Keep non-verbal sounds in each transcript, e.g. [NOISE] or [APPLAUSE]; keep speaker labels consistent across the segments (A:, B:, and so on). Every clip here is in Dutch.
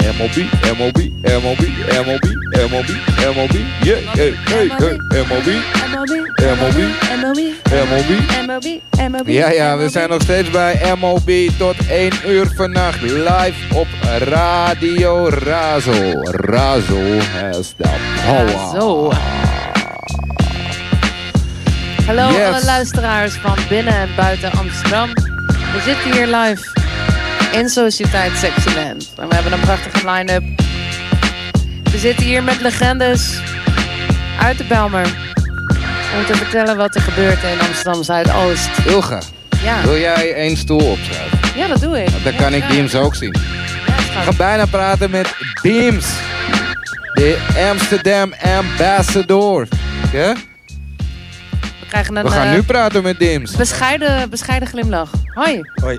A: MLB, MLB, MLB, MLB, MLB, MLB, yeah, hey, hey, hey, MLB, MLB, MLB. Ja, ja, we zijn nog steeds bij MLB tot 1 uur vannacht live op Radio Razo. Razo has the power.
B: Razo. Hallo
A: Yes.
B: alle luisteraars van binnen en buiten Amsterdam. We zitten hier live in Sociëteit Sexyland. En we hebben een prachtige line-up. We zitten hier met legendes uit de Belmer. Om te vertellen wat er gebeurt in Amsterdam Zuidoost.
A: Ilga,
B: Ja,
A: wil jij één stoel opschrijven?
B: ja dat doe ik.
A: Dan kan ik Diems ook zien. Ik ga bijna praten met Diems. De Amsterdam Ambassador. Ja?
B: We krijgen een
A: We gaan
B: eh,
A: nu praten met Diems.
B: bescheiden, bescheiden glimlach. Hoi.
C: Hoi.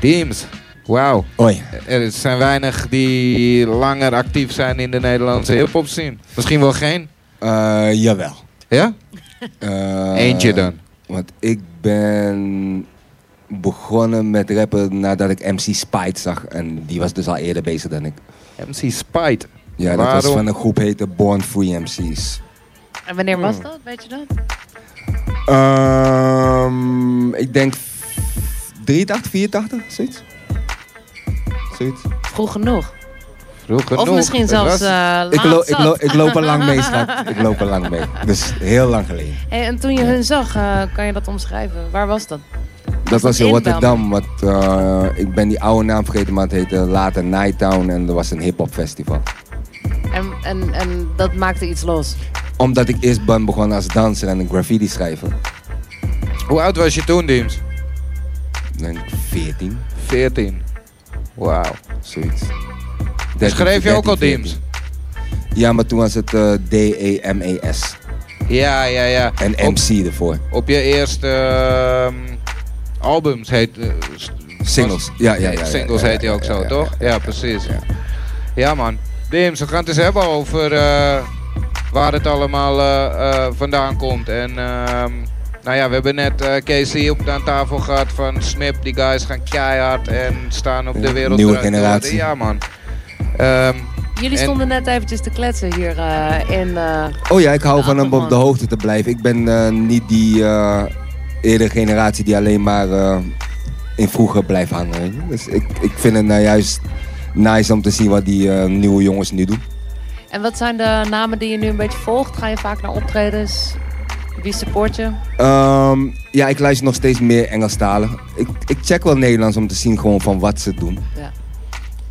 A: Diems. Wauw.
C: Hoi.
A: Er zijn weinig die langer actief zijn in de Nederlandse hip-hop scene. Misschien wel geen.
C: Eh, jawel.
A: Ja?
C: Eh,
A: Eentje dan.
C: Want ik ben begonnen met rappen nadat ik MC Spite zag. En die was dus al eerder bezig dan ik.
A: MC Spite.
C: Ja, dat was
A: Waarom?
C: van een groep heette Born Free MC's.
B: En wanneer was dat? Weet je dat?
C: Ehm, ik denk f- 83, 84, zoiets. Zoiets.
B: Vroeg genoeg.
A: Vroeg genoeg.
B: Of misschien
A: Het
B: zelfs
A: was-
B: eh laat
C: Ik, loop ik,
B: zat.
C: loop ik loop er lang mee, schat. Ik loop er lang mee. Dus heel lang geleden.
B: Hey, en toen je hun zag, eh, kan je dat omschrijven? Waar was dat?
C: Dat was in
B: in
C: Rotterdam, want eh, ik ben die oude naam vergeten, maar het heette later Nighttown en er was een hip-hop festival.
B: En, en, en dat maakte iets los.
C: Omdat ik eerst ben begonnen als danser en een graffiti schrijver.
A: Hoe oud was je toen, Diems?
C: Denk ik 14,
A: 14. Wauw.
C: zoiets.
A: Dus schreef je ook al Deems?
C: Ja, maar toen was het eh, D-E-M-E-S
A: Ja, ja, ja.
C: E en
A: Op-
C: MC ervoor.
A: Op je eerste ehm, albums heet... eh, st-
C: Singles.
A: was-
C: Ja, ja, ja, ja,
A: Singles
C: ja, ja,
A: heet hij ook
C: ja,
A: zo,
C: ja,
A: toch? Ja, precies. Ja. man. Dims, we gaan het eens hebben over eh, waar het allemaal eh, eh, vandaan komt. En ehm, nou ja, we hebben net eh, Casey op aan tafel gehad van Snip. Die guys gaan keihard en staan op
C: Ja,
A: de wereld.
C: nieuwe
A: draait door.
C: generatie.
A: Ja, man. Ehm,
B: Jullie
A: En-
B: stonden net eventjes te kletsen hier eh, in... eh,
C: Oh ja, ik hou van
B: Ah,
C: om op de
B: man.
C: hoogte te blijven. Ik ben eh, niet die eh eerdere generatie die alleen maar eh, in vroeger blijft hangen. weet je. Dus ik, ik vind het nou juist nice om te zien wat die eh, nieuwe jongens nu doen.
B: en wat zijn de namen die je nu een beetje volgt? Ga je vaak naar optredens? Wie support je?
C: Ehm, ja, ik luister nog steeds meer Engelstalen. Ik, ik check wel Nederlands om te zien gewoon van wat ze doen.
B: Ja.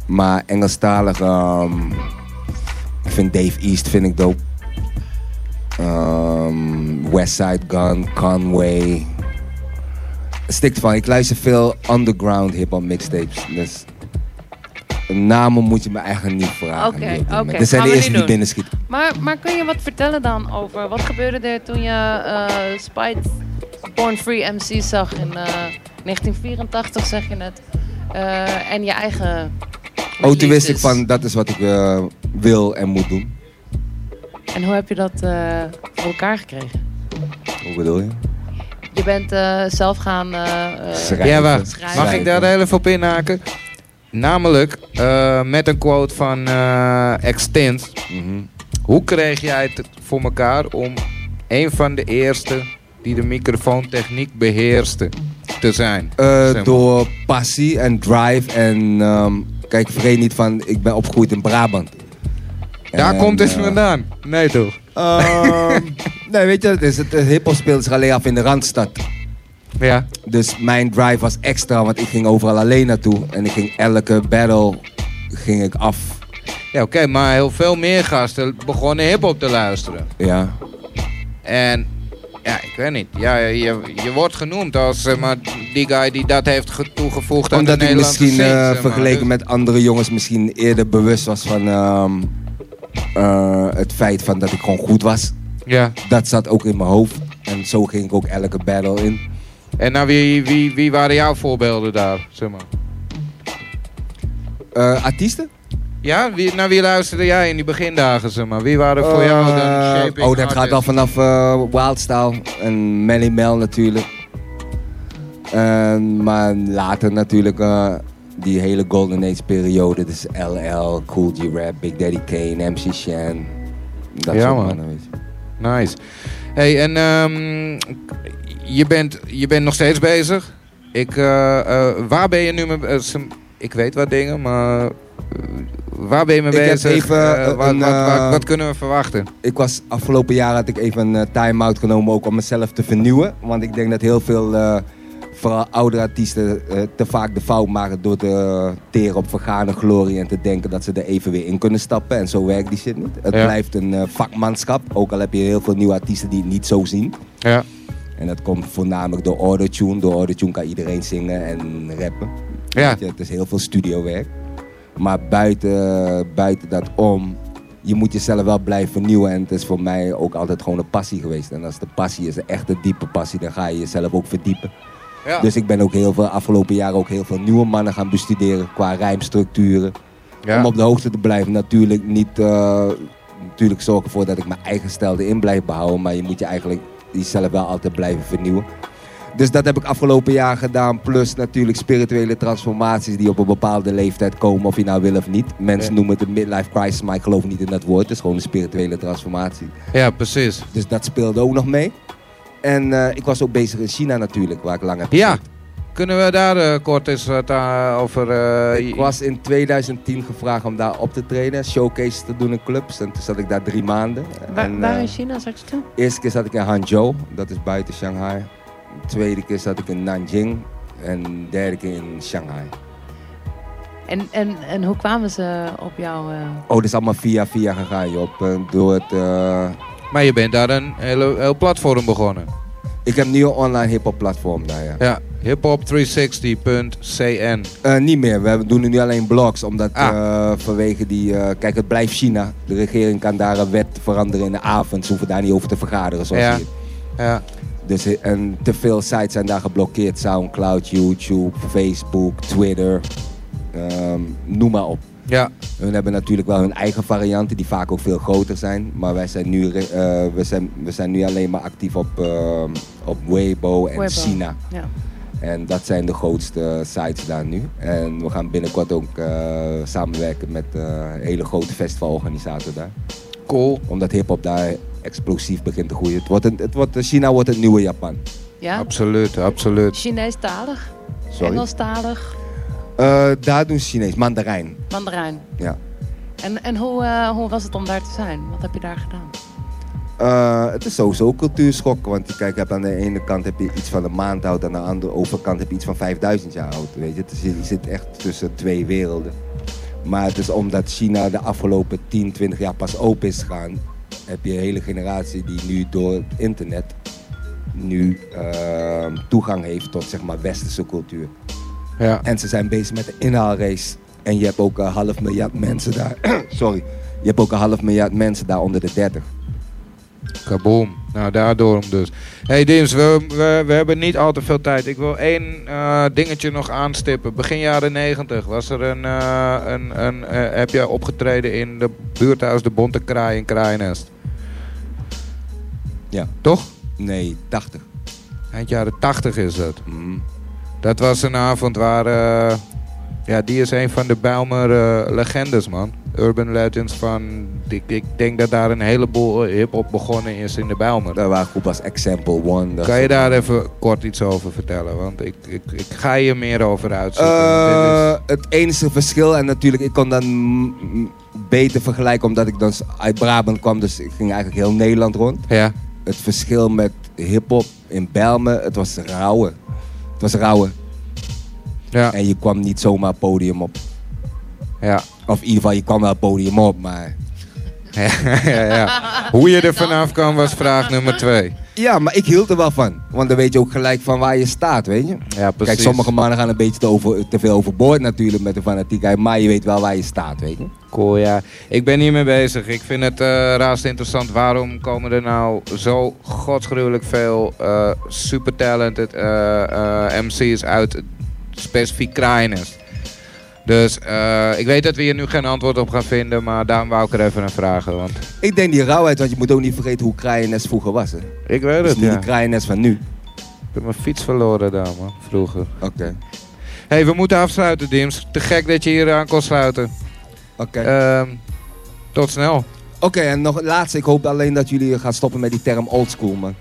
C: Maar Engelstalig, ehm, ik vind Dave East vind ik dope. Ehm Westside Gun, Conway. Stikt van, ik luister veel underground hip-hop mixtapes. Dus namen moet je me eigenlijk niet vragen.
B: Oké,
C: nu op dit moment.
B: oké,
C: Dit zijn
B: gaan we
C: de eerste
B: niet
C: die
B: doen.
C: binnenschieten.
B: Maar, maar kun je wat vertellen dan over wat gebeurde er toen je eh, Spite Born Free MC zag in eh, 1984, zeg je net. Eh, en je eigen.
C: Oh, toen wist ik
B: releases.
C: van, dat is wat ik eh, wil en moet doen.
B: En hoe heb je dat eh, voor elkaar gekregen?
C: Hoe bedoel je?
B: Je bent eh, zelf gaan. eh, eh,
C: Schrijven.
A: ja, wacht.
B: Schrijven.
A: Mag ik daar heel even op inhaken? Namelijk, eh, met een quote van eh Extint.
C: Mhm.
A: Hoe kreeg jij het voor elkaar om een van de eerste die de microfoontechniek beheerste te zijn?
C: Eh,
A: Zeg maar.
C: door passie en drive. En ehm, kijk, vergeet niet van, ik ben opgegroeid in Brabant.
A: Daar
C: En,
A: komt het
C: eh,
A: vandaan. Nee toch?
C: ehm, nee, weet je, het is het hiphop speelt zich alleen af in de Randstad.
A: Ja.
C: Dus mijn drive was extra, want ik ging overal alleen naartoe. En ik ging elke battle ging ik af.
A: Ja, oké, maar heel veel meer gasten begonnen hip-hop te luisteren.
C: Ja.
A: En ja, ik weet niet. Ja, je, je wordt genoemd als zeg maar, die guy die dat heeft ge- toegevoegd aan
C: Omdat
A: de
C: ik
A: Nederlandse
C: misschien
A: scene,
C: eh,
A: zeg maar.
C: vergeleken
A: Dus-
C: met andere jongens misschien eerder bewust was van ehm, eh, het feit van dat ik gewoon goed was.
A: Ja.
C: Dat zat ook in mijn hoofd. En zo ging ik ook elke battle in.
A: En nou, wie, wie, wie waren jouw voorbeelden daar, zeg maar?
C: Eh, artiesten?
A: Ja, wie, naar wie luisterde jij in die begindagen, zeg maar? Wie waren voor jou dan
C: Eh,
A: shaping
C: Oh, dat gaat
A: artists?
C: wel vanaf eh Wildstyle en Melly Mel natuurlijk. En, maar later natuurlijk eh, die hele Golden Age periode. Dus LL, Cool G Rap, Big Daddy Kane, MC Shan. Dat
A: Ja,
C: soort
A: man.
C: mannen, weet je.
A: Nice. Hey, en ehm, je, bent, je bent nog steeds bezig. Ik, eh, eh, waar ben je nu mee eh, sem- Ik weet wat dingen, maar eh, waar ben je mee
C: Ik heb
A: bezig?
C: even,
A: Eh,
C: eh,
A: wat,
C: een,
A: wat, wat,
C: eh,
A: wat kunnen we verwachten?
C: Ik was afgelopen jaar had ik even een eh, time-out genomen ook om mezelf te vernieuwen. Want ik denk dat heel veel, eh, vooral oudere artiesten, eh, te vaak de fout maken door te eh, teren op vergane glorie en te denken dat ze er even weer in kunnen stappen. En zo werkt die shit niet. Het
A: Ja.
C: blijft een eh, vakmanschap, ook al heb je heel veel nieuwe artiesten die het niet zo zien.
A: Ja.
C: En dat komt voornamelijk door autotune. Door autotune kan iedereen zingen en rappen.
A: Ja.
C: Weet je, het is heel veel studiowerk. Maar buiten, buiten dat om, je moet jezelf wel blijven vernieuwen. En het is voor mij ook altijd gewoon een passie geweest. En als de passie is, een echte diepe passie, dan ga je jezelf ook verdiepen.
A: Ja.
C: Dus ik ben ook heel veel, afgelopen jaren ook heel veel nieuwe mannen gaan bestuderen qua rijmstructuren.
A: ja.
C: Om op de hoogte te blijven. Natuurlijk niet. eh, natuurlijk zorg ervoor dat ik mijn eigen stijl erin blijf behouden. Maar je moet je eigenlijk jezelf wel altijd blijven vernieuwen. Dus dat heb ik afgelopen jaar gedaan. Plus natuurlijk spirituele transformaties die op een bepaalde leeftijd komen. Of je nou wil of niet. Mensen
A: Ja.
C: noemen het een midlife crisis. Maar ik geloof niet in dat woord. Het is gewoon een spirituele transformatie.
A: ja, precies.
C: Dus dat speelde ook nog mee. En eh, ik was ook bezig in China natuurlijk. Waar ik lang heb
A: Ja. Kunnen we daar eh, kort eens wat eh, over... eh,
C: Ik was in 2010 gevraagd om daar op te treden, showcases te doen in clubs. En toen zat ik daar drie maanden.
B: Waar,
C: en,
B: waar
C: eh,
B: in China zat je toen?
C: eerste keer zat ik in Hangzhou, dat is buiten Shanghai. tweede keer zat ik in Nanjing. En derde keer in Shanghai.
B: En, en, en hoe kwamen ze op jou? eh?
C: Oh, dat is allemaal via via gegaan, joh. Op, eh, Door het... eh,
A: Maar je bent daar een hele, heel platform begonnen.
C: Ik heb nu een online hip-hop platform daar, ja.
A: Ja, hiphop360.cn.
C: Eh, niet meer. We hebben- doen nu alleen blogs, omdat
A: Ah.
C: eh, vanwege die... eh, kijk, het blijft China. De regering kan daar een wet veranderen in de avond. Ze hoeven daar niet over te vergaderen, zoals
A: Ja.
C: hier.
A: Ja,
C: Dus, en te veel sites zijn daar geblokkeerd. Soundcloud, YouTube, Facebook, Twitter. ehm, noem maar op.
A: ja,
C: Hun hebben natuurlijk wel hun eigen varianten, die vaak ook veel groter zijn. Maar wij zijn nu, re- eh, we zijn, we zijn nu alleen maar actief op, ehm, op Weibo en
B: Weibo.
C: China.
B: Ja.
C: En dat zijn de grootste sites daar nu. En we gaan binnenkort ook eh, samenwerken met eh, een hele grote festivalorganisator daar.
A: cool.
C: Omdat hip-hop daar explosief begint te groeien. Het wordt een, het wordt, China wordt het nieuwe Japan.
B: ja?
A: Absoluut, absoluut.
B: Chinees-talig,
C: Sorry.
B: Engelstalig,
C: Eh, daar doen ze Chinees, Mandarijn.
B: Mandarijn.
C: Ja.
B: En, en hoe, eh, hoe was het om daar te zijn? Wat heb je daar gedaan?
C: Eh, het is sowieso een cultuurschok, want je kijk, je hebt aan de ene kant heb je iets van een maand oud, aan de andere overkant heb je iets van 5000 jaar oud. Weet je? Het is, je zit echt tussen twee werelden. Maar het is omdat China de afgelopen 10, 20 jaar pas open is gegaan, heb je een hele generatie die nu door het internet nu eh, toegang heeft tot zeg maar westerse cultuur.
A: Ja,
C: En ze zijn bezig met de inhaalrace. En je hebt ook een half miljard mensen daar. [CLEARS THROAT] Sorry. Je hebt ook een half miljard mensen daar onder de 30.
A: kaboom. Nou, daardoor dus. hey Dims, we, we, we hebben niet al te veel tijd. Ik wil één eh, dingetje nog aanstippen. Begin jaren negentig was er een... eh, een, een eh, heb jij opgetreden in de buurthuis De Bonte Kraai in Kraaienest?
C: Ja.
A: Toch?
C: Nee, 80.
A: Eind jaren tachtig is dat.
C: Mm.
A: Dat was een avond waar... eh, ja, die is een van de Bijlmer eh, legendes, man. Urban Legends van... Ik, ik denk dat daar een heleboel eh, hip-hop begonnen is in de Bijlmer.
C: Daar waren groepen als Example One. dat
A: Kan je
C: soort-
A: daar even kort iets over vertellen? Want ik, ik, ik ga je meer over uitzoeken.
C: Eh,
A: Dit
C: het enige verschil, en natuurlijk, ik kon dan mm, mm, beter vergelijken omdat ik dan s- uit Brabant kwam, dus ik ging eigenlijk heel Nederland rond.
A: is- Ja,
C: Het verschil met hip-hop in Belmen, het was rauwe. Het was rauwe.
A: ja,
C: En je kwam niet zomaar het podium op.
A: ja. [LAUGHS]
C: Of in ieder geval, je kwam wel het podium op, maar
A: ja, ja, ja. Hoe je er vanaf kan was vraag nummer twee.
C: Ja, maar ik hield er wel van. Want dan weet je ook gelijk van waar je staat, weet je.
A: Ja, precies.
C: Kijk, sommige mannen gaan een beetje te, over, te veel overboord natuurlijk met de fanatiekheid. Maar je weet wel waar je staat, weet je.
A: Cool, ja. Ik ben hiermee bezig. Ik vind het eh raast interessant. Waarom komen er nou zo godsgruwelijk veel eh super talented MC's uit specifiek Kraaienest? Dus eh, ik weet dat we hier nu geen antwoord op gaan vinden, maar daarom wou ik er even naar vragen. Want
C: Ik denk die rauwheid, want je moet ook niet vergeten hoe Kraaiennest vroeger was. Hè.
A: ik weet
C: Dat is
A: het,
C: niet
A: ja.
C: de Kraaiennest van nu.
A: Ik heb mijn fiets verloren daar, man, vroeger.
C: Oké.
A: hey, we moeten afsluiten, Dims. Te gek dat je hier aan kon sluiten.
C: Oké,
A: Ehm, tot snel.
C: Oké, en nog het laatste. Ik hoop alleen dat jullie gaan stoppen met die term oldschool, man.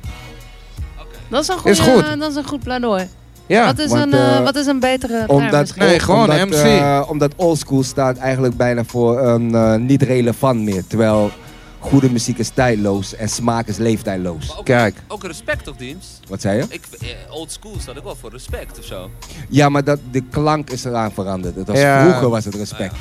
B: Dat is een, goede,
A: Is goed.
B: eh, dat is een goed pleidooi.
A: Ja,
B: wat, is een,
C: want,
B: eh,
C: eh,
B: wat is een betere term
C: Omdat,
B: misschien?
A: Nee, gewoon
C: omdat,
A: MC.
C: eh, omdat oldschool staat eigenlijk bijna voor een eh, niet relevant meer. Terwijl goede muziek is tijdloos en smaak is leeftijdloos.
D: Maar ook,
A: Kijk.
D: Ook respect toch, Dims?
C: Wat zei je?
D: Ik, eh, old school staat ook wel voor respect of
A: [LAUGHS]
D: zo.
C: Ja, maar dat, de klank is eraan veranderd. Het was,
A: Ja.
C: Vroeger was het respect.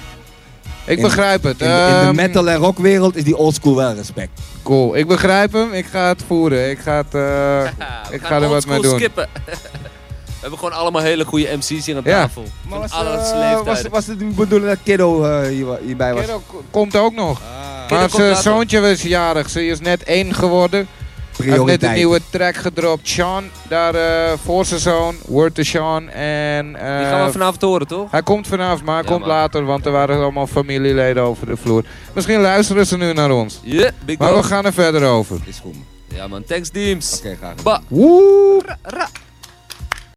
A: ik
C: in-
A: begrijp het.
C: In, de- in
A: Ehm,
C: de metal en rockwereld is die oldschool wel respect.
A: Cool, ik begrijp hem. Ik ga het voeren. Ik ga het... eh,
D: Haha, [LAUGHS] we
A: Ik
D: gaan
A: ga er
D: old
A: wat mee
D: school
A: doen.
D: skippen. [LAUGHS] we hebben gewoon allemaal hele goede MC's hier aan
A: Ja.
D: tafel. Van
C: was,
D: alle
C: eh, was,
D: leeftijden.
C: was het de bedoeling dat Kiddo eh, hier, hierbij was?
A: Kiddo k- komt ook nog. Maar
D: Kiddo Ah. komt
A: zijn
D: later.
A: zoontje was jarig. Ze is net één geworden. Hij heeft net
C: Prioriteit.
A: een nieuwe track gedropt. Sean, daar eh, voor zijn zoon. Word to Sean. En eh,
D: Die gaan we vanavond horen, toch?
A: hij komt vanavond, maar hij
D: Ja,
A: komt
D: man.
A: later. Want er waren allemaal familieleden over de vloer. Misschien luisteren ze nu naar ons.
D: Ja, yeah, big
A: Maar we
D: dog.
A: gaan er verder over.
C: Is goed. man.
D: Ja man, thanks Dims.
C: Oké, graag.
D: Ba.
A: Woe!
D: Ra.